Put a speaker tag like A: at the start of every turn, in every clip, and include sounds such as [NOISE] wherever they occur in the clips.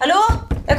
A: Hallo? Jeg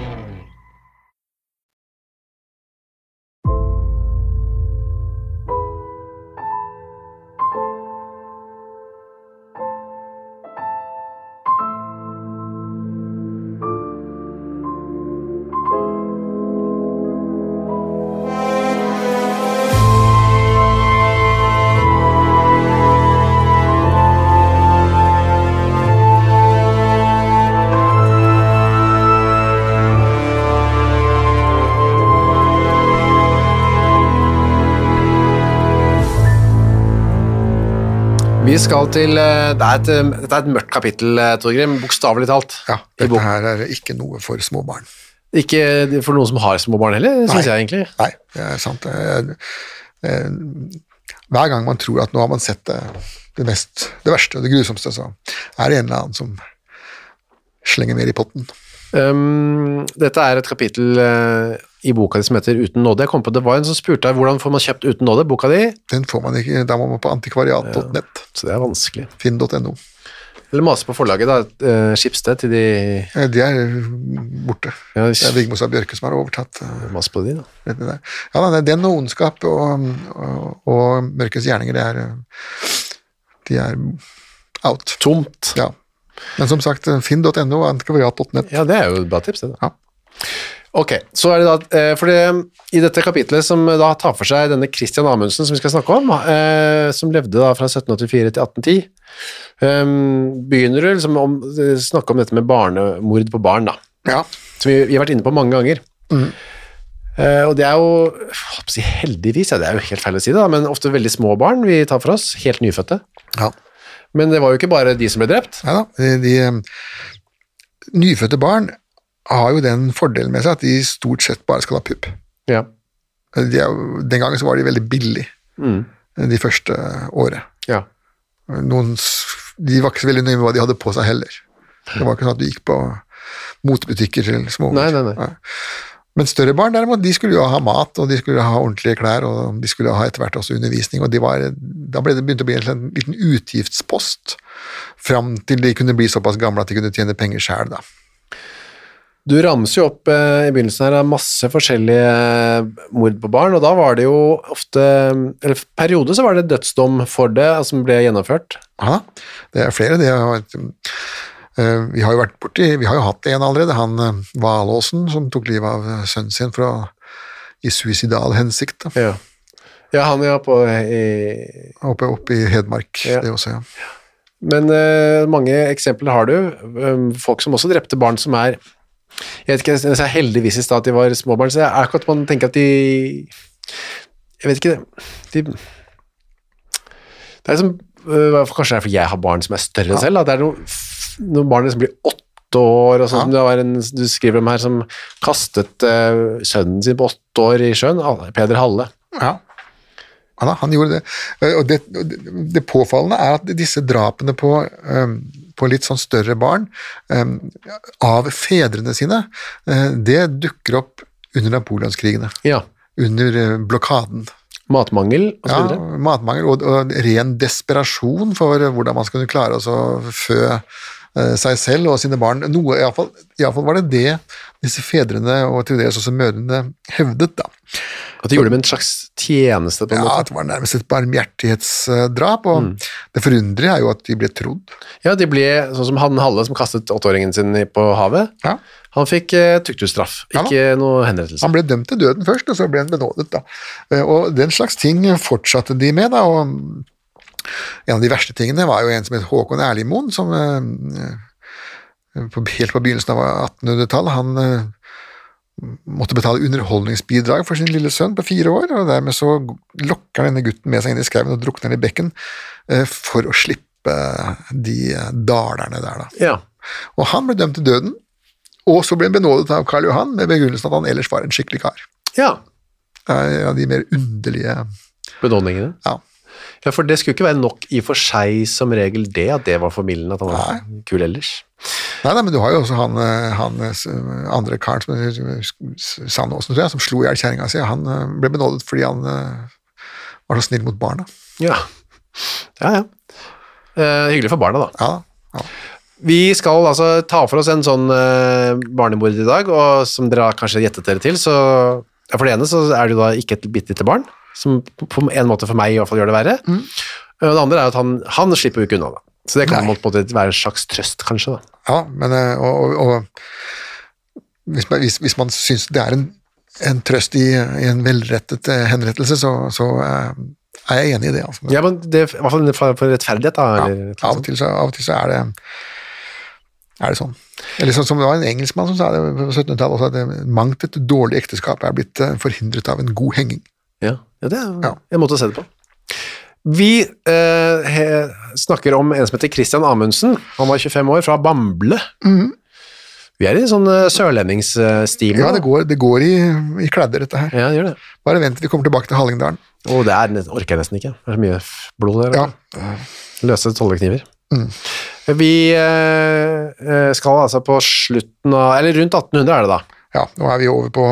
B: Vi skal til eh, det er et, eh, Dette er et mørkt kapittel, eh, Torgrim, bokstavelig talt.
C: Ja,
B: I
C: dette
B: boken.
C: her er ikke noe for små barn.
B: Ikke for noen som har små barn heller, syns jeg egentlig.
C: Nei, det er sant. Eh, eh, Hver gang man tror at nå har man sett det, det, mest, det verste og det grusomste, så er det en eller annen som slenger mer i potten.
B: Um, dette er et kapittel eh, i boka di som heter Uten nåde. Jeg kom på Det var en som spurte deg hvordan får man kjøpt Uten nåde, boka di.
C: Den får man ikke, da må man på antikvariat.net,
B: Så det er vanskelig.
C: finn.no.
B: Eller mase på forlaget, da. eh, Skipsted til de
C: Eh, De er borte.
B: Ja,
C: Det er Vigmos av Bjørke som har overtatt. eh,
B: Mas på de, da.
C: dette der. Ja, nei, den og ondskap og, og, og mørkets gjerninger, det er, eh, de er out.
B: Tomt.
C: Ja. Men som sagt, finn.no og antikvariat.net.
B: Ja, det er jo et bra tips, det. da.
C: Ja.
B: Ok, så er det da, eh, for det, I dette kapitlet som eh, da tar for seg denne Christian Amundsen som vi skal snakke om, eh, som levde da fra 1784 til 1810, ehm, begynner du liksom om, snakke om dette med barnemord på barn, da,
C: Ja.
B: som vi, vi har vært inne på mange ganger. Eh, og det er jo jeg holdt på å si heldigvis, ja, det er jo helt feil å si det, da, men ofte veldig små barn vi tar for oss, helt nyfødte.
C: ja.
B: Men det var jo ikke bare de som ble drept.
C: Neida, de, de eh, Nyfødte barn har jo den fordelen med seg at de stort sett bare skal ha pupp.
B: Ja.
C: De er, jo- den gangen så var de veldig billig eh, de første året.
B: ja.
C: Noen, s- de var ikke så veldig nøye med hva de hadde på seg heller. Det var ikke sånn at du gikk på motebutikker til småunger.
B: Nei, nei, nei.
C: Men større barn derimot, de skulle jo ha mat, og de skulle ha ordentlige klær, og de skulle ha etter hvert også undervisning, og de var, da ble det begynt å bli en liten utgiftspost, fram til de kunne bli såpass gamle at de kunne tjene penger sjøl, da.
B: Du ramser jo opp eh, i begynnelsen her av masse forskjellige eh, mord på barn, og da var det jo ofte Eller for periode så var det dødsdom for det altså, som ble gjennomført.
C: Ja, det er flere. Det har, vært, eh, vi har jo vært borti Vi har jo hatt en allerede, han eh, Valåsen som tok livet av eh, sønnen sin for å, i suicidal hensikt. Da.
B: Ja, ja han ja på eh, i,
C: Oppe, oppe i Hedmark,
B: Ja.
C: det også, ja.
B: Men eh, mange eksempler har du. Um, folk som også drepte barn som er Jeg vet ikke, jeg sa heldigvis i stad at de var små barn, så det er akkurat man tenker at de Jeg vet ikke det. De, det er liksom øh, Kanskje det er fordi jeg har barn som er større enn selv. Da. Det er noe, f- noen barn som blir åtte år, og sånn som det var en du skriver om her, som kastet øh, sønnen sin på åtte år i sjøen. Al- Peder Halle.
C: Ja. Ja da, han gjorde det. Eh, Og det, og det- det påfallende er at disse drapene på, ehm, på litt sånn større barn ehm, av fedrene sine, eh, det dukker opp under napoleonskrigene.
B: Ja.
C: Under eh, blokaden.
B: Matmangel og så
C: Ja,
B: videre.
C: matmangel og, og ren desperasjon for eh, hvordan man skulle klare å så fø eh, seg selv og sine barn. Noe, iallfall, iallfall var det det disse fedrene og til dels også mødrene hevdet, da.
B: At de gjorde det med en slags tjeneste, på en måte. Mm.
C: Ja, det var nærmest et barmhjertighetsdrap, og det forunderlige er jo at de ble trodd.
B: Ja, de ble sånn som han Halle som kastet åtteåringen sin i- på havet.
C: Ja.
B: Han fikk eh, tukthusstraff,
C: Ja da.
B: ikke noe henrettelse.
C: Han ble dømt til døden først, og så ble han benådet. Da. Eh, Og den slags ting fortsatte de med. Da, og en av de verste tingene var jo en som het Håkon Erlimoen, som eh, på, helt på begynnelsen av 1800-tallet han eh, måtte betale underholdningsbidrag for sin lille sønn på fire år, og dermed så lokker han denne gutten med seg inn i skauen og drukner han i bekken eh, for å slippe de eh, dalerne der, da.
B: Ja.
C: Og han ble dømt til døden, og så ble han benådet av Karl Johan med begrunnelsen at han ellers var en skikkelig kar.
B: ja.
C: Det er en av de mer underlige
B: Benådningene.
C: Ja.
B: Ja, for det skulle ikke være nok i og for seg som regel det, at det var familien, at han var kul ellers.
C: Nei, nei, men du har jo også han, eh, han eh, s- andre karen som heter Sandåsen, tror jeg, som slo i hjel kjerringa si. Han eh, ble benådet fordi han eh, var så snill mot barna.
B: Ja, ja. ja. Eh, hyggelig for barna, da.
C: Ja, ja.
B: Vi skal altså ta for oss en sånn eh, barnemord i dag, og som dere har kanskje gjettet dere til, så ja, for det ene så er det jo da ikke et bitte lite barn, som på- på en måte for meg i hvert fall gjør det verre.
C: Mm.
B: Eh, Og det andre er at han, han slipper jo ikke unna, da. Så det kan
C: Nei.
B: på en måte være en slags trøst, kanskje. da.
C: ja men eh, og, og, og hvis man, hvis, hvis man syns det er en, en trøst i, i en velrettet eh, henrettelse, så, så eh, er jeg enig i det. Altså.
B: Ja, men det er i hvert fall for, for rettferdighet, da. Eller,
C: Ja,
B: et eller
C: av
B: annet
C: og til så, av og til så er, det, er det sånn. Eller sånn som Det var en engelskmann som sa det på 1700-tallet også, at det- mangt et dårlig ekteskap er blitt eh, forhindret av en god henging.
B: Ja, ja det er
C: Ja.
B: en måte å se det på. Vi eh, he, snakker om en som heter Christian Amundsen. Han var 25 år, fra Bamble. Vi er i sånn eh, sørlendingsstil.
C: Mhm. Ja,
B: nå.
C: det går, det går i, i kladder, dette her.
B: Ja, det gjør det.
C: Bare vent til vi kommer tilbake til Hallingdalen.
B: Og det er, nes- orker jeg nesten ikke. Det er så mye f- blod der. altså.
C: Ja, Mhm.
B: Løse tollekniver. Vi eh, eh, skal altså på slutten av Eller rundt 1800 er det, da.
C: ja, nå er vi over på,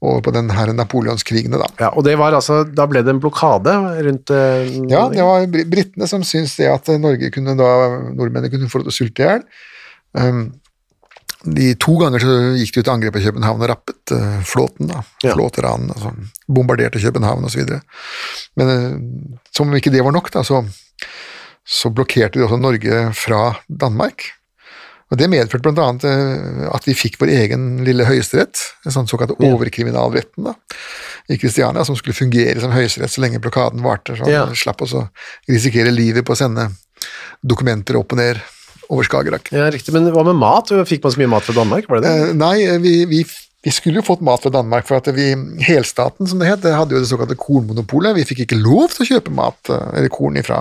C: over på den her napoleonskrigene, da.
B: Ja, og det var altså, da ble det en blokade rundt eh,
C: Ja, det var bri- britene som syntes det at eh, Norge kunne da, nordmennene kunne få lov til å sulte i hjel. Um, de to ganger så gikk de ut til angrep på København og rappet eh, flåten. da,
B: Ja.
C: Flåteran, altså, bombarderte København osv. Men eh, som om ikke det var nok, da, så, så blokkerte de også Norge fra Danmark. Og Det medførte bl.a. at vi fikk vår egen lille høyesterett, en sånn såkalt overkriminalretten da, i Kristiania, som skulle fungere som høyesterett så lenge blokaden varte. Så
B: Ja.
C: vi slapp oss å risikere livet på å sende dokumenter opp og ned over Skagerrak.
B: Ja, riktig. Men hva med mat? Fikk man så mye mat fra Danmark? Var det det?
C: Eh, Nei, vi, vi, vi skulle jo fått mat fra Danmark, for at vi, helstaten som det het, det hadde jo det såkalte kornmonopolet. Vi fikk ikke lov til å kjøpe mat eh, eller korn fra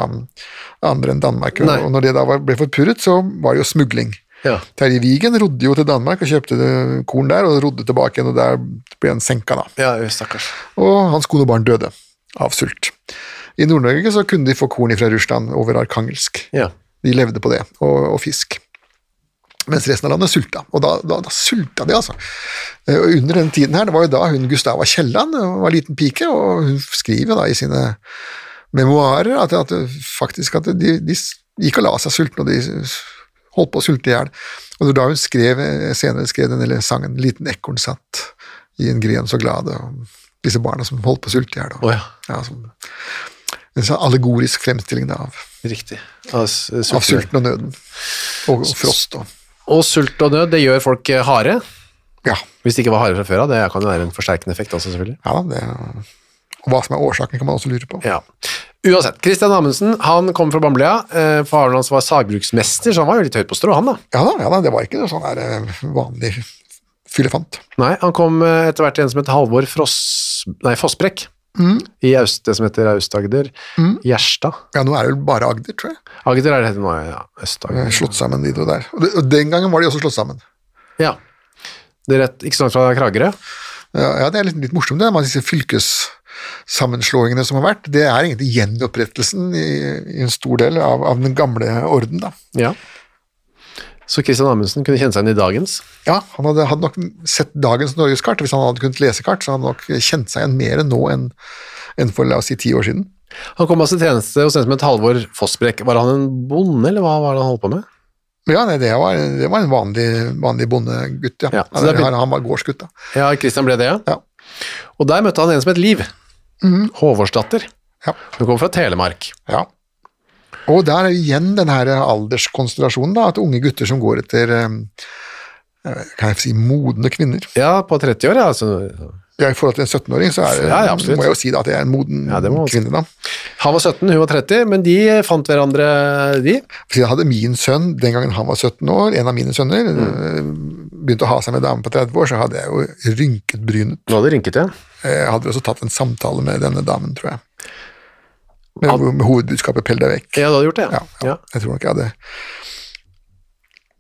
C: andre enn Danmark.
B: Nei.
C: Og når det da var, ble forpurret, så var det jo smugling.
B: Ja.
C: Terje Wigen rodde jo til Danmark og kjøpte det- korn der, og rodde tilbake igjen, og der ble han senka, da.
B: Ja, stakkars.
C: Og hans kone og barn døde av sult. I Nord-Norge så kunne de få korn fra Russland over Arkangelsk.
B: Ja.
C: De levde på det, og, og fisk. Mens resten av landet sulta, og da, da, da sulta de, altså. Eh, Og under den tiden her, det var jo da hun Gustava Kielland eh, var liten pike, og hun skriver da i sine memoarer at, at faktisk at de, de s- gikk og la seg sultne, og de s- holdt på å sulte i hjel. Og det var da hun skrev, eh, senere skrev den lille sangen 'Liten ekorn satt i en gren så glad', om disse barna som holdt på å sulte i hjel. og-
B: Å ja.
C: Ja, som- en sånn allegorisk fremstilling da, av
B: Riktig. Av, s- sult.
C: av sulten og nøden. Og, og frost og
B: Og sult og nød, det gjør folk eh, harde.
C: Ja.
B: Hvis det ikke var harde fra før av. Det kan jo være en forsterkende effekt også, selvfølgelig.
C: ja da, det, og hva som er årsaken, kan man også lure på.
B: Ja. Uansett, Christian Amundsen han kom fra Bamblea. Eh, Faren hans var sagbruksmester, så han var jo litt høyt på strå, han da.
C: Ja da, ja da det var ikke noe sånn her eh, vanlig fyllefant.
B: Nei, han kom eh, etter hvert til en som het Halvor Fross... Nei, Fossbrekk. I Aust, det som heter Aust-Agder. Gjerstad.
C: Ja, nå er det vel bare Agder, tror jeg.
B: Agder er det heter nå, ja.
C: Eh,
B: Øst-Agder.
C: Slått sammen dit og der. Og, det, og den gangen var de også slått sammen.
B: Ja. Det er rett, ikke så langt fra Kragerø.
C: Ja, ja, det er litt, litt morsomt det, med disse fylkessammenslåingene som har vært. Det er egentlig gjenopprettelsen i, i en stor del av, av den gamle orden, da.
B: Ja. Så Christian Amundsen kunne kjenne seg igjen i dagens.
C: Ja, han hadde, hadde nok sett dagens norgeskart. Hvis han hadde kunnet lese kart, så hadde han nok kjent seg igjen mer nå enn, enn for la oss si ti år siden.
B: Han kom altså i tjeneste hos en som het Halvor Fossbrekk. Var han en bonde, eller hva var det han holdt på med?
C: Men ja, nei, det var, det var en vanlig, vanlig bondegutt, ja.
B: Ja, så
C: han,
B: det er blitt-
C: han var gårdsgutt, da.
B: Ja, Christian ble det, ja. Mhm.
C: Ja.
B: Og der møtte han en som het Liv. Håvårsdatter.
C: Ja.
B: Hun kom fra Telemark.
C: Ja. Og der er igjen den her alderskonstellasjonen, da, at unge gutter som går etter eh, eh, kan jeg si, modne kvinner.
B: Ja, på 30 år, ja. Altså.
C: Ja, I forhold til en 17-åring, så er, det-
B: Ja, ja, absolutt.
C: må jeg jo si da, at jeg er en moden
B: Ja, det må man si.
C: kvinne. da.
B: Han var 17, hun var 30, men de fant hverandre, de.
C: For jeg hadde min sønn, den gangen han var 17 år, en av mine sønner, eh, begynte å ha seg med en dame på 30 år, så hadde jeg jo rynket brynet.
B: Nå hadde rynket, ja.
C: Jeg hadde også tatt en samtale med denne damen, tror jeg. Med, med hovedbudskapet 'pell deg vekk'.
B: Ja, du hadde gjort det, ja.
C: Ja, ja. Jeg tror nok jeg hadde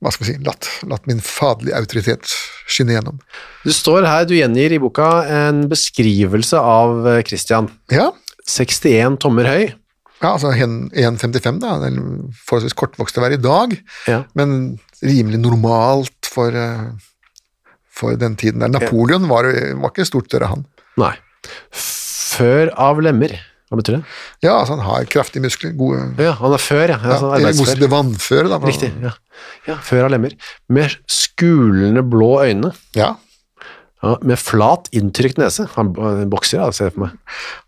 C: hva skal vi si, latt, latt min faderlige autoritet skinne gjennom.
B: Du står her, du gjengir i boka en beskrivelse av eh, Christian.
C: Ja,
B: 61 tommer høy.
C: ja altså hen- 1,55, da. Den forholdsvis kortvokst å være i dag,
B: Ja.
C: men rimelig normalt for, eh, for den tiden der. Napoleon var, var ikke stort større, han.
B: Nei. Før av lemmer. Hva betyr det?
C: Ja, altså han har kraftige muskler, gode
B: Ja, han er før, ja.
C: ja,
B: Altså,
C: eller motsatt
B: arbeidsfør.
C: til vannføre, da.
B: Riktig, ja. ja. Før av lemmer. Med skulende blå øyne.
C: Ja,
B: Ja, med flat, inntrykt nese. Han han bokser, ja, ser jeg for meg.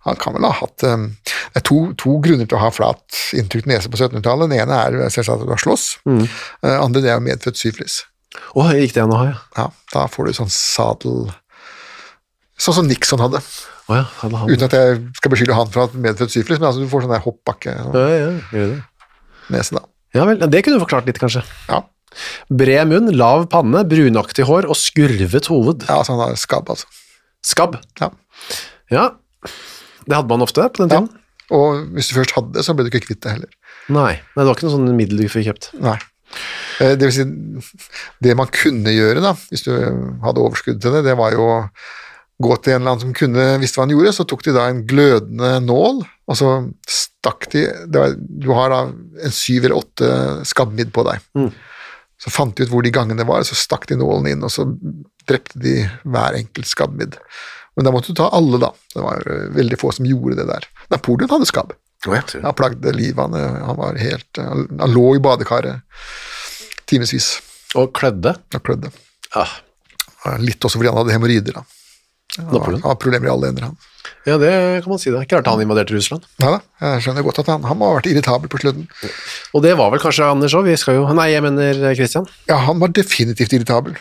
C: han kan vel ha hatt eh, Det er to, to grunner til å ha flat inntrykt nese på 1700-tallet. Den ene er selvsagt at du har slåss.
B: Mm.
C: Eh, andre det er jo medfødt syfilis.
B: Å, gikk det an å ha, ja.
C: Ja, da får du sånn sadel Sånn som Nixon hadde.
B: Å, ja. Hadde han.
C: Uten at jeg skal beskylde han for å ha medfødt syfilis, men altså, du får sånn der hoppbakke-nese,
B: Ja, ja, gjør det.
C: da.
B: Ja vel, det kunne du forklart litt, kanskje.
C: Ja.
B: Bred munn, lav panne, brunaktig hår og skurvet hoved.
C: ja, altså han har skabb, altså.
B: Skabb.
C: Ja.
B: Ja, det hadde man ofte på den
C: ja.
B: tiden.
C: Og hvis du først hadde det, så ble du ikke kvitt det heller.
B: Nei, nei, det var ikke noe sånn middel du fikk kjøpt.
C: Nei. Eh, Det vil si, det man kunne gjøre da, hvis du eh, hadde overskudd til det, det var jo å gå til en eller annen som kunne visste hva han gjorde, så tok de da en glødende nål, og så stakk de det var, Du har da en syv eller åtte skabbmidd på deg. Så fant de ut hvor de gangene var, så stakk de nålen inn, og så drepte de hver enkelt skabbmidd. Men da måtte du ta alle, da. Det var eh, veldig få som gjorde det der. Napoleon hadde skabb. Han plagde livet, han, eh, han var helt eh, Han han lå i badekaret timevis
B: Og klødde. Ah.
C: og klødde.
B: Ja,
C: Eh, Litt også fordi han hadde hemoroider. da. Han var-
B: Napoleon.
C: Han har problemer i alle ender, han.
B: ja, det kan man si det. Ikke rart han invaderte Russland.
C: Nei da, jeg skjønner godt at han, han må ha vært irritabel på slutten.
B: Og det var vel kanskje Anders òg, vi skal jo Nei, jeg mener eh, Christian.
C: Ja, han var definitivt irritabel.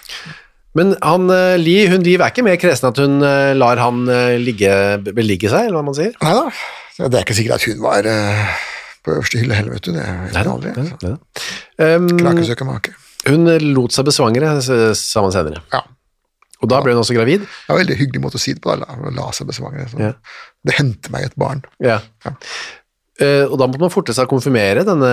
B: Men han, eh, Li, hun Liv er ikke mer kresen at hun eh, lar han eh, ligge, beligge seg, eller hva man sier?
C: Nei da, det er ikke sikkert at hun var eh, på øverste hylle heller, vet du. Det vet man aldri.
B: det, det. Um,
C: Krake søker make.
B: hun lot seg besvangre, eh, s- sa man senere.
C: Ja.
B: Og da ble hun også gravid.
C: Det var en veldig hyggelig måte å si det på. da, la, la seg besvange. Så.
B: Ja.
C: Det hendte meg et barn.
B: Ja.
C: Ja.
B: Eh, og da måtte man forte seg å konfirmere denne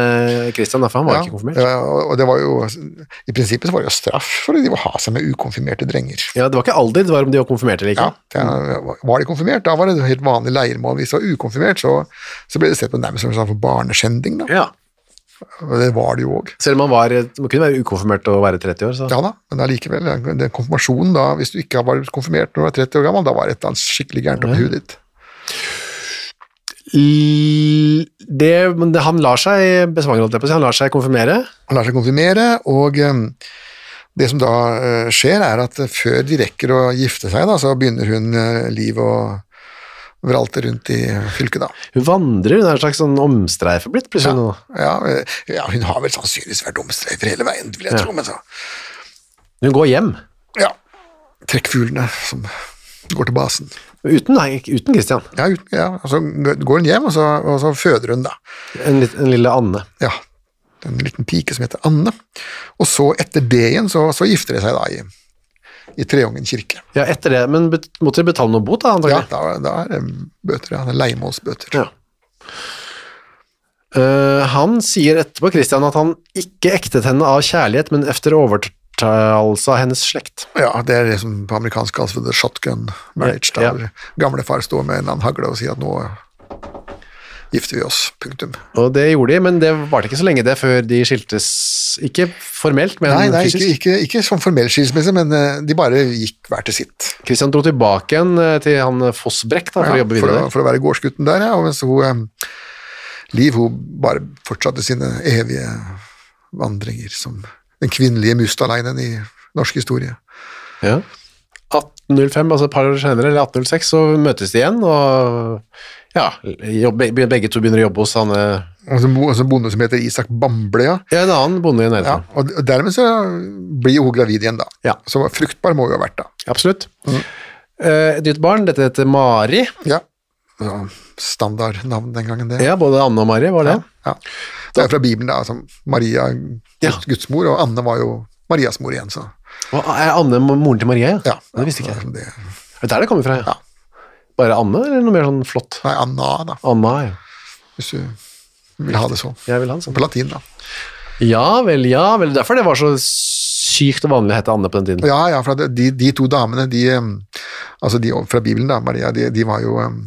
B: Christian, da, for han var ikke konfirmert.
C: Ja, og og det var jo, I prinsippet så var det jo straff for de å ha seg med ukonfirmerte drenger.
B: Ja, Det var ikke alder, det var om de var konfirmert eller ikke.
C: Ja, det, Var de konfirmert, da var det helt vanlig leirmål. Hvis de var ukonfirmert, så, så ble det sett på nærmest som en sånn barneskjending. Da.
B: Ja.
C: Og det var det jo òg.
B: Selv om man, var, man kunne være ukonfirmert og være 30 år. Så.
C: Ja da, men allikevel, den konfirmasjonen da, hvis du ikke var konfirmert når du var 30 år gammel, da var det et eller annet skikkelig gærent oppi huet ditt.
B: L- Det, men det, han lar seg besvangre, holdt jeg på å si. Han lar seg konfirmere.
C: Han lar seg konfirmere, og em, det som da eh, skjer, er at før de rekker å gifte seg, da, så begynner hun eh, liv å vralte rundt i fylket, da.
B: Hun vandrer, hun er en slags sånn omstreife blitt plutselig nå.
C: Ja, eh, ja, hun har vel sannsynligvis vært omstreifer hele veien, vil jeg tro, men så
B: Hun går hjem,
C: Ja. Trekkfuglene som går til basen.
B: uten, nei, ikke- uten Christian.
C: Ja, uten, ja. og Så går hun hjem, og så, og så føder hun, da.
B: En, litt- en lille Anne.
C: Ja, en liten pike som heter Anne. Og så, etter det igjen, så, så gifter de seg da i, i Treungen kirke.
B: Ja, etter det, men bet, måtte de betale noe bot, da,
C: Ja,
B: antagelig?
C: da, da er det bøter, ja. Det er leiemålsbøter.
B: Ja. Eh, han sier etterpå Christian at han ikke ektet henne av kjærlighet, men efter overtalelse av hennes slekt.
C: Ja, det er det som på amerikansk kalles for the shotgun marriage.
B: Ja.
C: Da hvor gamlefar står med en eller annen hagle og sier at nå gifter vi oss, punktum.
B: Og det gjorde de, men det varte ikke så lenge det før de skiltes. Ikke formelt, men
C: Nei, nei ikke,
B: fysisk.
C: ikke, ikke som formell skilsmisse, men eh, de bare gikk hver til sitt.
B: Christian dro tilbake igjen eh, til han eh, Fossbrekk da, for å
C: Ja,
B: jobbe videre.
C: for, å, for å være gårdsgutten der, ja. Og mens hun, eh, Liv hun bare fortsatte sine evige vandringer som den kvinnelige Mustalainen i norsk historie.
B: Ja. 1805, altså et par år senere, eller 1806, så møtes de igjen, og ja, jobb, be- begge to begynner å jobbe hos han, eh,
C: Og så bo- og så en bonde som heter Isak Bamble, ja.
B: ja, en annen bonde i
C: ja.
B: nærheten.
C: Og og dermed så blir jo hun gravid igjen, da.
B: Ja. Mm.
C: Så fruktbar må hun jo ha vært, da.
B: Absolutt. Eh, et nytt barn, dette heter Mari.
C: Ja. Ja, Standardnavn den gangen, det.
B: Ja, både Anne og Mari var det.
C: Ja. Det er fra Bibelen, da. Altså Maria,
B: Ja.
C: Guds, Guds mor, og Anne var jo Marias mor igjen, så
B: Og er Anne mo- moren til Maria,
C: ja.
B: Det visste ikke jeg.
C: Så Det.
B: Er det der det kommer fra?
C: Ja.
B: Bare Anne, eller noe mer sånn flott?
C: Nei, Anna, da,
B: Anna, ja.
C: hvis du vil ha det sånn.
B: Jeg vil ha en sånn.
C: På latin, da.
B: Ja vel, ja vel. Derfor det var så sykt vanlig å hete Anne på den tiden.
C: Ja, ja, for at de, de to damene, de, um, altså de fra Bibelen, da, Maria, de, de var jo um,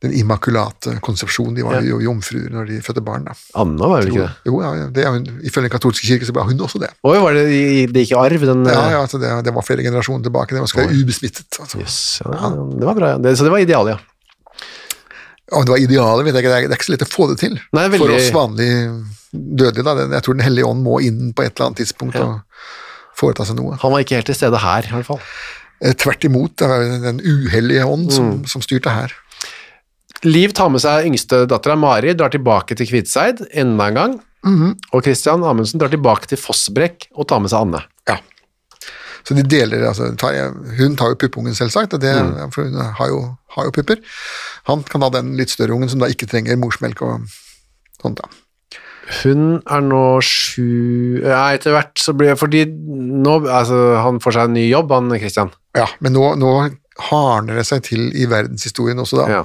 C: den immakulate konsepsjon, de var
B: Ja.
C: jo jomfruer når de fødte barn. da.
B: Anna var vel ikke det?
C: Jo, ja, det er hun, Ifølge den katolske kirke så var hun også det.
B: Oi, var det, i- det gikk i arv, den
C: Ja,
B: eh,
C: ja, altså det, det var flere generasjoner tilbake, det var skal være ubesmittet. Altså.
B: Jøss, ja, det var bra. Ja. Det, så det var idealet, ja.
C: Og det var idealet, vet jeg ikke, det er, det er ikke så lett å få det til.
B: Nei, veldig-
C: For oss vanlig dødelige, da. Den, jeg tror Den hellige ånd må inn på et eller annet tidspunkt og foreta seg noe.
B: Han var ikke helt til stede her, i hvert fall.
C: Eh, Tvert imot, det var den uhellige ånd som,
B: Mm.
C: som styrte her.
B: Liv tar med seg yngste dattera Mari, drar tilbake til Kvitseid enda en gang. Og Christian Amundsen drar tilbake til Fossbrekk og tar med seg Anne.
C: Ja. Så de deler, altså, tar, hun tar jo puppungen selvsagt, og det,
B: Mm.
C: for hun har jo, har jo pupper. Han kan ha den litt større ungen som da ikke trenger morsmelk og sånt da.
B: Hun er nå sju Nei, etter hvert så blir Fordi nå Altså, han får seg en ny jobb, han Christian.
C: Ja, men nå, nå hardner det seg til i verdenshistorien også da.
B: Ja.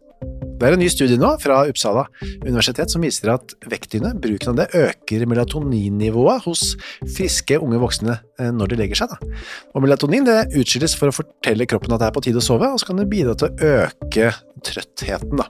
B: Det er en ny studie nå fra Uppsala universitet som viser at vektdyne, bruken av det, øker melatoninnivået hos friske unge voksne eh, når de legger seg. Da. Og melatonin det utskilles for å fortelle kroppen at det er på tide å sove, og så kan det bidra til å øke trøttheten. Da.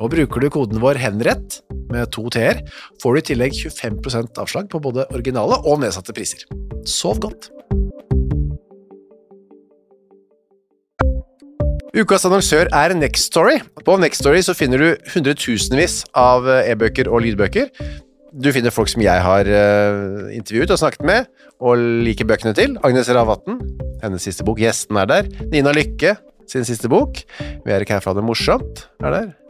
B: Og bruker du koden vår henrett med to t-er, får du i tillegg 25 avslag på både originale og nedsatte priser. Sov godt! Ukas annonsør er Nextory. På Nextory så finner du hundretusenvis av eh, e-bøker og lydbøker. Du finner folk som jeg har eh, intervjuet og snakket med, og liker bøkene til. Agnes Ravatn, hennes siste bok. Gjesten er der. Nina Lykke, sin siste bok. Vi er ikke her for å ha det morsomt, er der.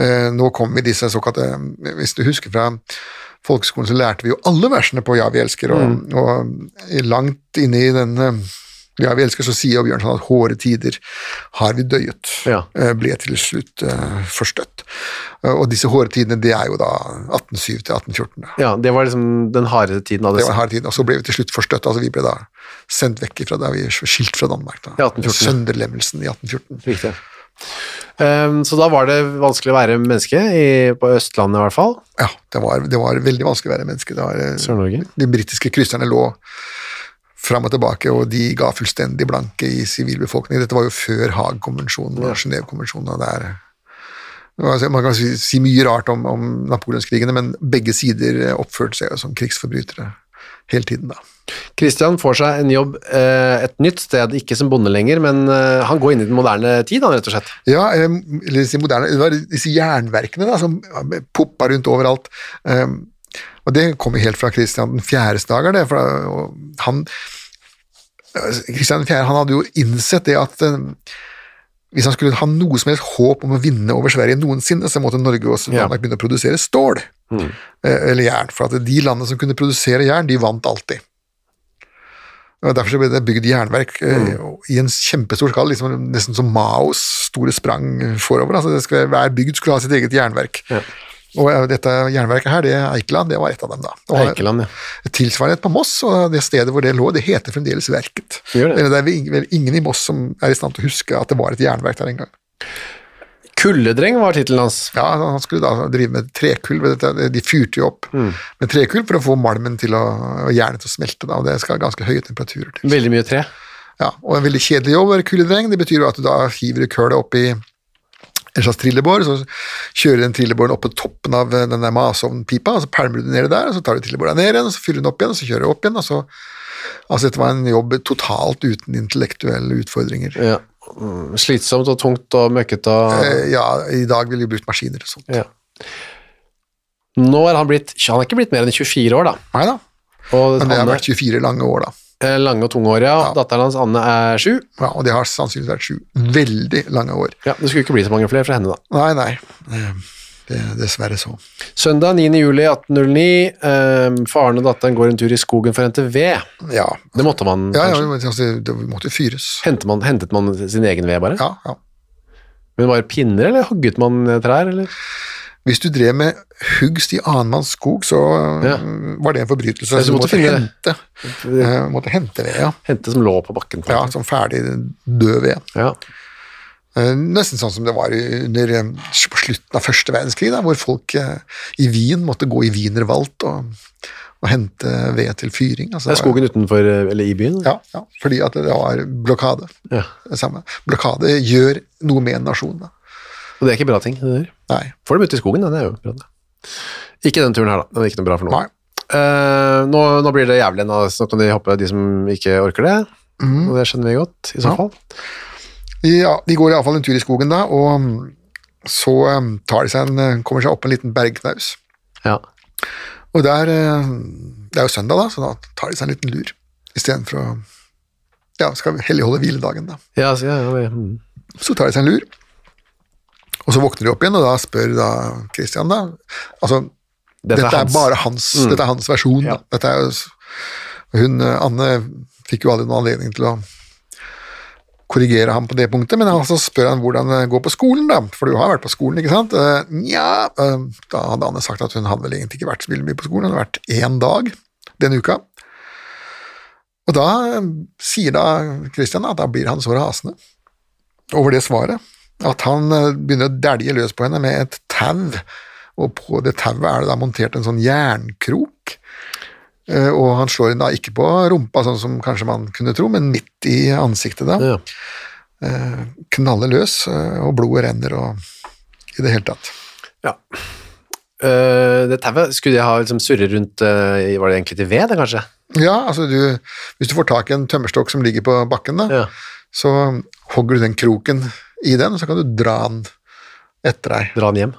C: Eh, nå kom vi disse såkalte, eh, hvis du husker fra folkeskolen,
B: Mm.
C: så lærte vi jo alle versene på Ja, vi elsker, og, og i- langt inne i den eh, Ja, vi elsker så sier Bjørnson at hårde tider har vi døyet,
B: Ja.
C: eh, ble til slutt eh, forstøtt. Eh, Og disse hårde tidene, det er jo da 1807 til 1814. da.
B: Ja, det var liksom den harde tiden av det.
C: Det var harde tiden, og så ble vi til slutt forstøtt, altså vi ble da sendt vekk fra der vi skilt fra Danmark da.
B: I 1814.
C: Sønderlemmelsen i 1814.
B: Riktig. Ehm, så da var det vanskelig å være menneske, i, på Østlandet i hvert fall.
C: Ja, det var, det var veldig vanskelig å være menneske. Det var, eh,
B: Sør-Norge.
C: de britiske krysserne lå fram og tilbake, og de ga fullstendig blanke i sivilbefolkningen. Dette var jo før Haag-konvensjonen og Genéve-konvensjonen. og det er- Altså, man kan si, si mye rart om, om napoleonskrigene, men begge sider oppførte seg jo som krigsforbrytere hele tiden, da.
B: Kristian får seg en jobb eh, et nytt sted, ikke som bonde lenger, men eh, han går inn i den moderne tid, han, rett og slett.
C: Ja, eh, eller disse moderne Det var disse jernverkene da, som poppa rundt overalt. Eh, Og det kom jo helt fra Kristian den fjerdes dager, det. For da- og han Kristian 4. han hadde jo innsett det at eh, hvis han skulle ha noe som helst håp om å vinne over Sverige noensinne, så måtte Norge også
B: Ja.
C: Danmark begynne å produsere stål. eh, Eller jern. For at de landene som kunne produsere jern, de vant alltid. Og Derfor så ble det bygd jernverk eh,
B: Mm.
C: i en kjempestor skala, liksom, nesten som Maos store sprang forover. Altså, det skulle, hver bygd skulle ha sitt eget jernverk. Og eh, dette jernverket her, det er Eikeland, det var et av dem, da. Og
B: Eikeland, ja.
C: Tilsvarende et på Moss, og det stedet hvor det lå, det heter fremdeles Verket.
B: Gjør det.
C: Eller det er vel ing- vel ingen i Moss som er i stand til å huske at det var et jernverk der en gang.
B: Kulledreng var tittelen hans.
C: Ja, altså, Han skulle da drive med trekull, men dette- de fyrte jo opp
B: Mm.
C: med trekull for å få malmen til å, og jernet til å smelte, da, og det skal ganske høye temperaturer til.
B: Veldig mye tre.
C: Ja, og en veldig kjedelig jobb å være kuledreng. Det betyr jo at du da hiver du kølet opp i en slags trillebår, så kjører den trillebåren opp på toppen av eh, den der masovnpipa, og så pælmer du den nedi der, og så tar du trillebåra ned igjen, og så fyller du den opp igjen, og så kjører du opp igjen, og så Altså, dette var en jobb totalt uten intellektuelle utfordringer.
B: Ja. Mm, Slitsomt og tungt og møkkete og
C: Eh, Ja, i dag ville vi brukt maskiner og sånt.
B: ja. Nå er han blitt Han er ikke blitt mer enn 24 år, da.
C: Nei da,
B: Og
C: men det har
B: Anne,
C: vært 24 lange år, da.
B: eh, lange og tunge år, ja. Datteren hans Anne er sju.
C: Ja, og det har sannsynligvis vært sju veldig lange år.
B: Ja, det skulle ikke bli så mange flere fra henne, da.
C: Mm. Nei, nei. eh, Det, dessverre så.
B: Søndag 9. juli 1809, eh, faren og datteren går en tur i skogen for å hente ved.
C: Ja.
B: Det måtte man
C: Ja, ja,
B: kanskje.
C: men altså, det måtte jo fyres.
B: Hentet man, hentet man sin egen ved bare?
C: Ja, ja.
B: Men bare pinner, eller hogget man trær, eller?
C: Hvis du drev med hugst i annenmanns skog, så
B: Ja.
C: øh, var det en forbrytelse.
B: Ja, så
C: du
B: måtte
C: måtte,
B: finne-
C: hente, øh, måtte hente ved, ja.
B: Hente som lå på bakken. på en
C: ja. Som ferdig død ved.
B: måte. ja.
C: Eh, Nesten sånn som det var under, eh, på slutten av første verdenskrig, da, hvor folk eh, i Wien måtte gå i wienerwald og, og hente ved til fyring. altså,
B: Det er
C: var-
B: skogen utenfor, eh, eller i byen?
C: Ja, ja, fordi at det var blokade.
B: Ja.
C: Det samme. Blokade gjør noe med en nasjon. Da.
B: Og det er ikke bra ting, det der.
C: Nei.
B: Får dem ute i skogen, da, det er jo bra det. Ikke den turen her, da. Den er ikke noe bra for noen.
C: Nei.
B: Eh, nå, nå blir det jævlig, nå, så nå kan de hoppe, de som ikke orker det. Og det skjønner vi godt, i så
C: Ja.
B: fall.
C: Ja, de går iallfall en tur i skogen da, og mm, så mm, tar de seg en, eh, kommer seg opp en liten bergknaus.
B: Ja.
C: Og der eh, Det er jo søndag, da, så da tar de seg en liten lur. Istedenfor å Ja, skal vi helligholde hviledagen, da.
B: Ja, så, ja, ja, mm.
C: Så tar de seg en lur, og så våkner de opp igjen, og da spør da Christian, da Altså,
B: Dette er hans. Mm.
C: bare hans, dette er hans versjon. da. Dette er jo s- Hun eh, Anne fikk jo aldri noen anledning til å korrigere ham på det punktet, men altså spør han hvordan det går på skolen, da, for du har vært på skolen, ikke sant? Eh, Nja eh, Da hadde Anne sagt at hun hadde vel egentlig ikke vært så veldig mye på skolen, hun hadde vært én dag den uka. Og da eh, sier da Christian at da blir han så rasende over det svaret at han eh, begynner å dælje løs på henne med et tau, og på det tauet er det da montert en sånn jernkrok. Eh, Og han slår henne da ikke på rumpa, sånn som kanskje man kunne tro, men midt i ansiktet. da
B: ja.
C: knaller løs, eh, og blodet renner og i det hele tatt.
B: Ja. Eh, det tauet, skulle jeg ha liksom surret rundt eh, i- Var det egentlig til ved, det, kanskje?
C: Ja, altså du, hvis du får tak i en tømmerstokk som ligger på bakken, da,
B: Ja.
C: så hogger du den kroken i den, og så kan du dra den etter deg.
B: Dra den hjem.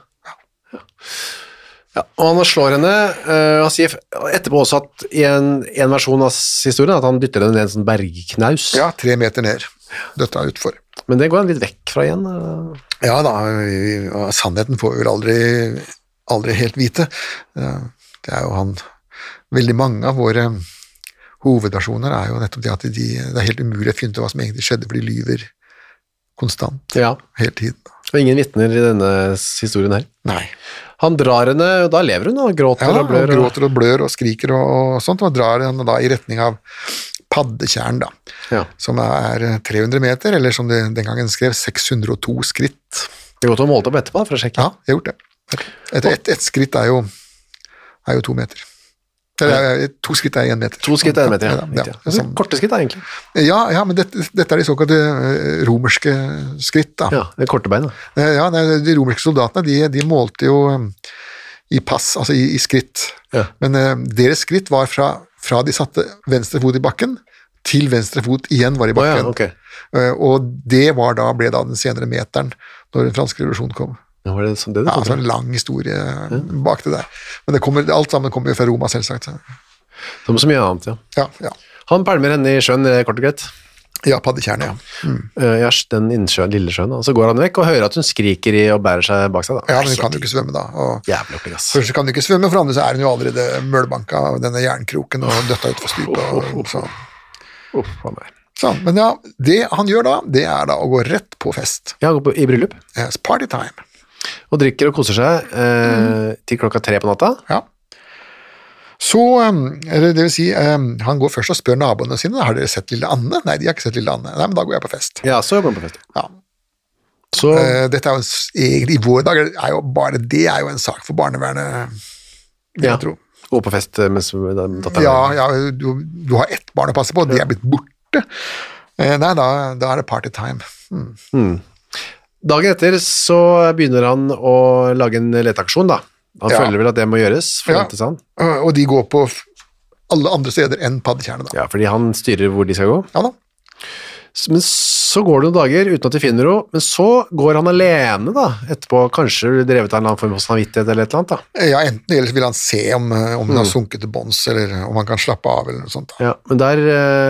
B: Ja. Og han slår henne. eh, han sier f- etterpå også at i en, en versjon av s- historien at han dytter henne ned en sånn bergknaus.
C: Ja, tre meter ned. Dette er utfor.
B: Men det går han litt vekk fra igjen. eh.
C: Ja da, vi- vi- og sannheten får vi vel aldri, aldri helt vite. Eh, Det er jo han Veldig mange av våre hovedversjoner er jo nettopp det at de, det er helt umulig å finne ut hva som egentlig skjedde, for de lyver konstant
B: eh. Ja.
C: hele tiden.
B: Og ingen vitner i denne s- historien her.
C: Nei.
B: Han drar henne, og da lever hun og gråter
C: Ja,
B: og blør.
C: Og gråter og blør og skriker og, og sånt, og drar henne da i retning av paddetjern, da.
B: Ja.
C: Som er eh, 300 meter, eller som de den gangen skrev, 602 skritt.
B: Det er godt å måle opp etterpå for å sjekke.
C: Ja, jeg har gjort det. Et, et, et skritt er jo, er jo to meter. Eller eh, to skritt er én meter.
B: To skritt er en meter, ja.
C: Ja, ja,
B: Riktig, ja.
C: sånn.
B: Korte skritt, da, egentlig.
C: ja, ja men dette, dette er de såkalte eh, romerske skritt, da.
B: Ja, det er korte bein, da.
C: Eh, Ja, nei, De romerske soldatene de, de målte jo eh, i pass, altså i, i skritt.
B: Ja.
C: Men eh, deres skritt var fra, fra de satte venstre fot i bakken, til venstre fot igjen var i
B: Å ja,
C: bakken.
B: ok.
C: Eh, og det var da, ble da den senere meteren, når den franske revolusjonen kom.
B: Ja, var det sånn det du
C: Ja,
B: kom
C: altså
B: fra?
C: En lang historie eh, bak det der. Men det kommer, alt sammen kommer jo fra Roma, selvsagt. så-
B: Som så mye annet, ja.
C: Ja, ja.
B: Han pælmer henne i sjøen, det er kort og greit.
C: ja paddetjerne, ja. Mm.
B: Eh, Ja, den innsjøen, lille sjøen. da. Og så går han vekk og hører at hun skriker i og bærer seg bak seg, da.
C: ja. Men hun kan jo ikke svømme, da. Og
B: Jævlig opplegg, ass.
C: først kan hun ikke svømme, for det andre så er hun jo allerede mølbanka av denne jernkroken og døtta utfor stupet. og så-
B: Uff, faen meg.
C: Sånn, men ja, det han gjør da, det er da å gå rett på fest.
B: Ja, han går på, i bryllup
C: Yes, party time.
B: og drikker og koser seg eh,
C: Mm.
B: til klokka tre på natta.
C: Ja. Så, um, eller det vil si, um, han går først og spør naboene sine, har dere sett Lille Anne? Nei, de har ikke sett Lille Anne. Nei, men da går jeg på fest.
B: Ja, så går han på fest.
C: Ja.
B: Så
C: Eh, Dette er jo en s- egentlig, i våre dager, er jo bare det er jo en sak for barnevernet, vil
B: Ja.
C: jeg tro.
B: går på fest eh, mens da- datteren
C: Ja, ja du, du har ett barn å passe på, de er blitt borte. Eh, Nei, da, da er det party time. Mm.
B: Dagen etter så begynner han å lage en leteaksjon, da. Han
C: Ja.
B: føler vel at det må gjøres, forventes
C: Ja.
B: han.
C: Eh, Og de går på f- alle andre steder enn paddetjernet, da.
B: Ja, fordi han styrer hvor de skal gå.
C: Ja da.
B: S- Men så går det noen dager uten at de finner henne, men så går han alene, da, etterpå. Kanskje drevet av en eller annen form for samvittighet eller et eller annet, da.
C: Ja, enten eller så vil han se om, eh, om hun har sunket til bånds, eller om han kan slappe av, eller noe sånt. Da.
B: Ja, men der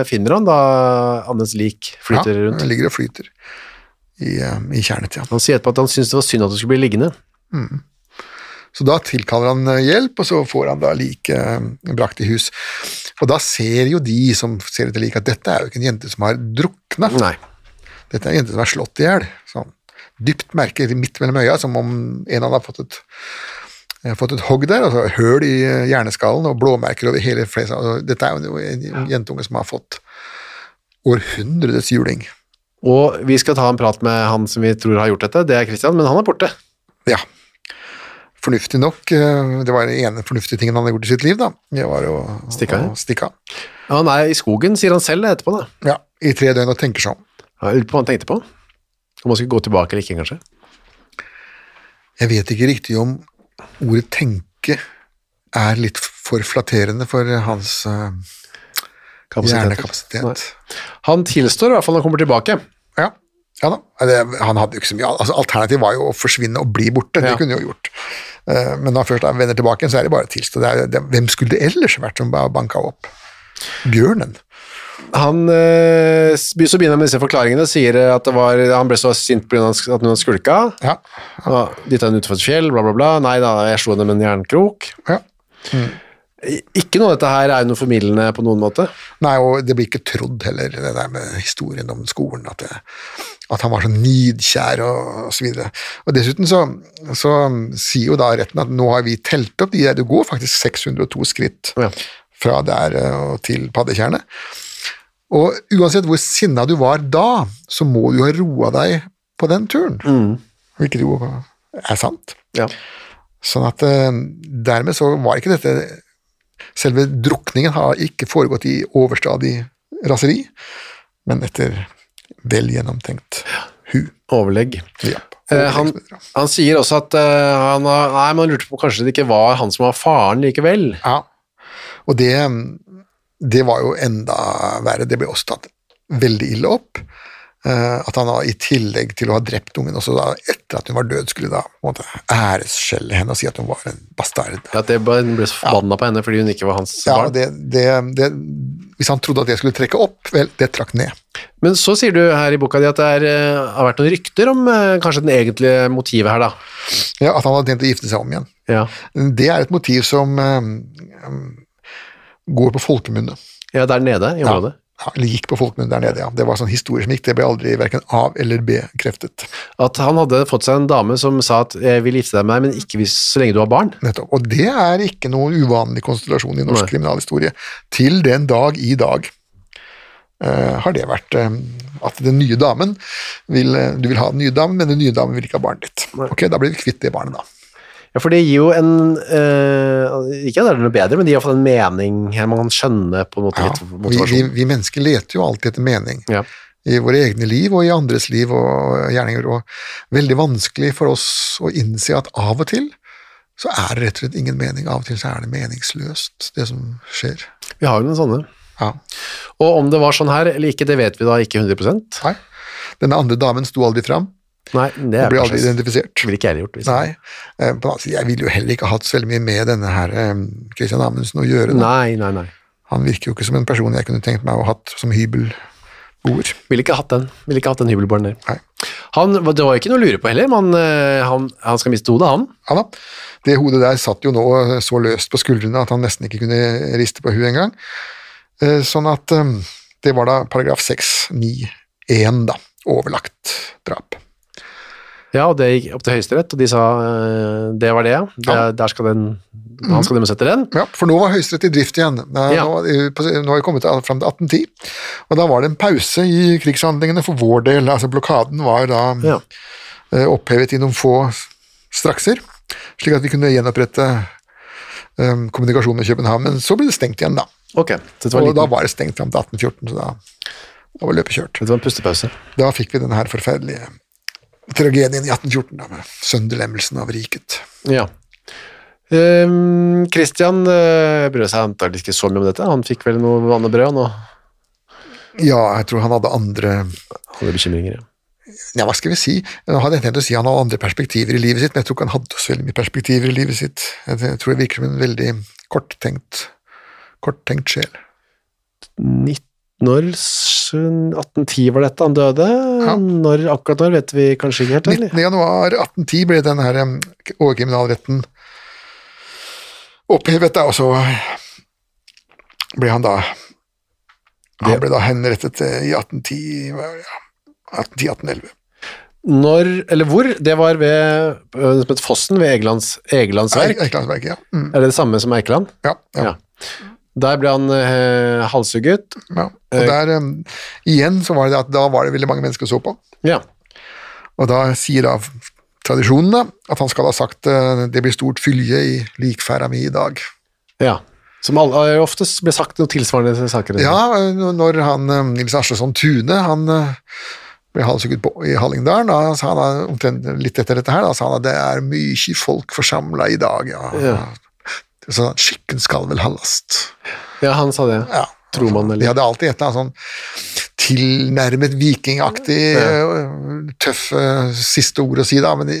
B: eh, finner han da Annes lik flyter
C: Ja,
B: rundt.
C: Hun ligger og flyter i, eh, i kjernet, ja.
B: Han sier etterpå at han syntes det var synd at hun skulle bli liggende.
C: Så da tilkaller han eh, hjelp, og så får han da liket eh, brakt i hus. Og da ser jo de som ser etter liket, at dette er jo ikke en jente som har drukna,
B: Nei.
C: dette er en jente som er slått i hjel. Sånn. Dypt merke midt mellom øya, som om en hadde fått et eh, fått et hogg der, altså høl i eh, hjerneskallen og blåmerker over hele fleisen. Altså, dette er jo en, en jentunge som har fått århundredets juling.
B: Og vi skal ta en prat med han som vi tror har gjort dette, det er Christian, men han er borte.
C: Ja. Fornuftig nok. eh, Det var den ene fornuftige tingen han hadde gjort i sitt liv, da. Det var å
B: Stikke av.
C: å stikke av.
B: Han er i skogen, sier han selv etterpå, da.
C: Ja, I tre døgn og tenker seg om.
B: Jeg lurer på hva han tenkte på. Om han skulle gå tilbake eller ikke, kanskje.
C: Jeg vet ikke riktig om ordet tenke er litt for flatterende for hans eh, hjernekapasitet.
B: Nei. Han tilstår i hvert fall når han kommer tilbake.
C: Ja. ja da. Det, han hadde jo ikke så mye altså, Alternativet var jo å forsvinne og bli borte.
B: Ja.
C: Det kunne de jo gjort. Eh, Men når han først vender tilbake, igjen, så er det bare å tilstå. Det er, det, hvem skulle det ellers vært som bare banka opp? Bjørnen.
B: Han eh, s- så begynner han med disse forklaringene, sier eh, at det var, han ble så sint pga. at hun hadde skulka.
C: Ja.
B: Ja, Dytta henne utfor et fjell, bla, bla, bla. Nei da, jeg slo henne med en jernkrok.
C: ja.
B: I- Ikke noe av dette her er jo noe formildende på noen måte.
C: Nei, og det blir ikke trodd heller, det der med historien om skolen, at, det, at han var så nidkjær og, og så videre. Og dessuten så, så sier jo da retten at nå har vi telt opp de der, du går faktisk 602 skritt
B: Ja.
C: fra der eh, og til paddetjernet. Og uansett hvor sinna du var da, så må du ha roa deg på den turen. Hvilket jo er sant.
B: Ja.
C: Sånn at eh, dermed så var ikke dette Selve drukningen har ikke foregått i overstadig raseri, men etter vel gjennomtenkt hu.
B: Overlegg.
C: Ja.
B: Eh, han, han sier også at eh, han, har- nei, man lurte på kanskje det ikke var han som var faren likevel.
C: Ja. Og det, det var jo enda verre. Det ble også tatt veldig ille opp. eh, At han da, i tillegg til å ha drept ungen, også da, etter at hun var død, skulle da på en måte æresskjelle henne og si at hun var en bastard.
B: At det bare- hun ble så forbanna på henne fordi hun ikke var hans
C: Ja,
B: barn.
C: og det, det, det, hvis han trodde at det skulle trekke opp, vel, det trakk ned.
B: Men så sier du her i boka di at det er, eh, har vært noen rykter om eh, kanskje den egentlige motivet her, da.
C: Ja, At han hadde tenkt å gifte seg om igjen.
B: Ja.
C: Det er et motiv som eh, går på folkemunne.
B: Ja, der nede i området.
C: Ja, eller gikk på folkemunne der nede, ja. Det var sånn historie som gikk, det ble aldri hverken av eller bekreftet.
B: At han hadde fått seg en dame som sa at 'jeg vil gifte deg med deg, men ikke hvis, så lenge du har barn'.
C: Nettopp. Og det er ikke noen uvanlig konstellasjon i norsk
B: Nei.
C: kriminalhistorie. Til den dag i dag eh, har det vært eh, at den nye damen vil, eh, Du vil ha den nye damen, men den nye damen vil ikke ha barnet ditt. Ok, Da blir vi kvitt det barnet, da.
B: Ja, for det gir jo en eh, Ikke at det er noe bedre, men det gir iallfall en mening. her Man kan skjønne på en måte
C: Ja,
B: litt
C: vi, vi,
B: motivasjon.
C: vi mennesker leter jo alltid etter mening.
B: Ja.
C: I våre egne liv og i andres liv og gjerninger. Og veldig vanskelig for oss å innse at av og til så er det rett og slett ingen mening. Av og til så er det meningsløst, det som skjer.
B: Vi har jo noen sånne.
C: Ja.
B: Og om det var sånn her eller ikke, det vet vi da ikke 100
C: Nei. Denne andre damen sto aldri fram.
B: Nei, det
C: Og
B: er
C: ble aldri
B: kanskje-
C: identifisert.
B: ville ikke jeg gjort. Hvis.
C: Nei. Eh, På den annen side, jeg ville jo heller ikke hatt så veldig mye med denne her eh, Christian Amundsen å gjøre. da.
B: nei, nei, nei.
C: Han virker jo ikke som en person jeg kunne tenkt meg å hatt som hybelboer.
B: Ville ikke hatt den. Ville ikke hatt den hybelbaren der.
C: Nei.
B: Han, det var jo ikke noe å lure på heller, men eh, han, han skal miste hodet, han.
C: Ja da. Det hodet der satt jo nå eh, så løst på skuldrene at han nesten ikke kunne riste på huet engang. Eh, Sånn at eh, det var da paragraf 691, da. Overlagt drap.
B: Ja, og det gikk opp til Høyesterett, og de sa eh, det var det, ja. Det,
C: Ja.
B: Der skal den, han skal dømmes etter den.
C: Ja, for nå var Høyesterett i drift igjen. Eh,
B: Ja.
C: Nå, eh, på- nå har vi kommet til- fram til 1810, og da var det en pause i krigshandlingene for vår del. Altså blokaden var da
B: Ja.
C: eh, opphevet i noen få strakser, slik at vi kunne gjenopprette eh, kommunikasjon med København, men så ble det stengt igjen, da.
B: Ok, så dette var,
C: Og
B: en
C: da
B: liten,
C: var det stengt fram til 1814, så da, da var løpet kjørt.
B: dette var en pustepause.
C: Da fikk vi den her forferdelige tragedien i 1814, da, med sønderlemmelsen av riket.
B: Ja. Um, Christian eh, brød seg antagelig ikke så mye om dette. Han fikk vel noe vann og brød, han, og
C: Ja, jeg tror han hadde andre
B: hadde bekymringer. Ja.
C: Ja, hva skal vi si? Nå hadde jeg tenkt å si han hadde andre perspektiver i livet sitt, men jeg tror ikke han hadde så veldig mye perspektiver i livet sitt. Jeg jeg tror det virker som en veldig korttenkt, korttenkt sjel.
B: 19 år, s- 1810 var dette han døde.
C: Ja.
B: Når, akkurat når vet vi kanskje ikke helt,
C: 19.
B: eller?
C: januar 1810 ble den her em, overkriminalretten opphevet, da, og så ble han da Han ble da henrettet eh, i 1810 hva var det, ja, 1810-1811.
B: Når, eller hvor, det var ved, øh, som het Fossen ved Egelands, Egelands verk.
C: Eikelandsverket, ja. Mm,
B: Er det det samme som Eikeland?
C: ja, ja,
B: Ja. Der ble han eh, halshugget.
C: ja. Og der em, igjen så var det det at da var det veldig mange mennesker som så på,
B: Ja.
C: og da sier da tradisjonen da, at han skal ha sagt eh, det blir stort fylje i likferda mi i dag.
B: ja. Som alle, eh, ofte ble sagt noe tilsvarende til saker.
C: Ja, n- når han, eh, Nils Aslason Tune han eh, ble halshugget på i Hallingdalen, da sa han da, omtrent litt etter dette her, da sa han at det er mye folk forsamla i dag. Ja.
B: Ja.
C: Sånn at skikken skal vel ha last.
B: Ja, han sa det.
C: Ja.
B: Tror man,
C: De
B: eller?
C: hadde alltid et eller annet sånn tilnærmet vikingaktig, eh, tøff eh, siste ord å si, da. men de,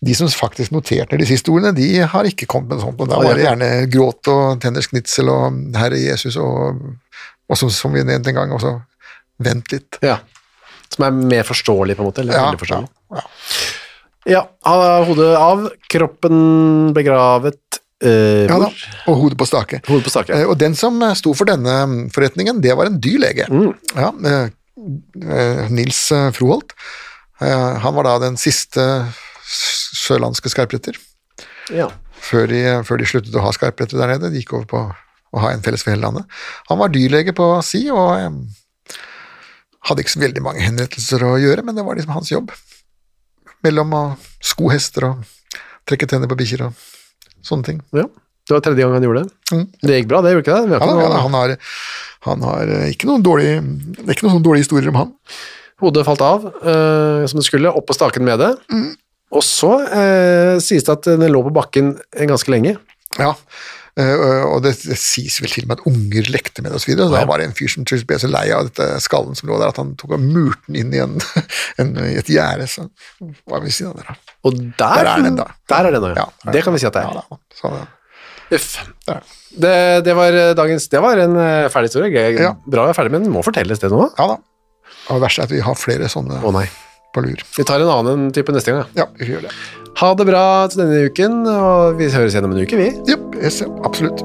C: de som faktisk noterte de siste ordene, de har ikke kommet med noe sånt. Og da
B: Ah, ja.
C: var det gjerne gråt og tenners knitsel og Herre Jesus og, og som, som vi nevnte en gang, også vent litt.
B: Ja. Som er mer forståelig, på en måte? Eller
C: Ja,
B: veldig forståelig.
C: ja, ja.
B: Ja, han har hodet av, kroppen begravet eh,
C: Ja da,
B: hvor?
C: og hodet på stake.
B: Hodet på stake.
C: Eh, Og den som eh, sto for denne mm, forretningen, det var en dyr lege. Ja, eh, eh, Nils eh, Froholt. Eh, Han var da den siste s- sørlandske skarpretter,
B: Ja.
C: før de, eh, før de sluttet å ha skarpretter der nede. De gikk over på å ha en felles for hele landet. Han var dyrlege på si, og eh, hadde ikke så veldig mange henrettelser å gjøre, men det var liksom hans jobb. Mellom å sko hester og trekke tenner på bikkjer og sånne ting.
B: ja. Det var tredje gang han gjorde det.
C: Mm.
B: Det gikk bra, det gjorde ikke det? Vi har
C: Ja,
B: ikke
C: da, ja, da,
B: noe-
C: han har, han har eh, ikke noen dårlige, det er ikke noen sånne dårlige historier om han.
B: Hodet falt av eh, som det skulle, opp på staken med det.
C: Mm.
B: Og så eh, sies det at den lå på bakken ganske lenge.
C: Ja, eh, og- og det sies vel til og med at unger lekte med det og så videre, og da var det en fyr som til slutt ble så lei av dette skallen som lå der, at han tok og murte den inn i en, [LAUGHS] en, i et gjerde. Så hva vil vi si da? Der, da?
B: Og der,
C: der er den da.
B: Der er den, ja.
C: der er
B: det kan vi
C: den.
B: si at det er.
C: Ja, da. så, det-
B: Uff.
C: der.
B: Det, det var eh, dagens Det var en eh, ferdig historie. Gøy-
C: Ja.
B: Bra å være ferdig, men den må fortelles, det nå. Å
C: ja da. Og det verste er at vi har flere sånne
B: nei.
C: på lur.
B: Vi tar en annen type neste gang. ja.
C: Ja, vi gjør det.
B: Ha det bra til denne uken, og vi høres igjen om en uke, vi.
C: Jep, yes, ja, absolutt.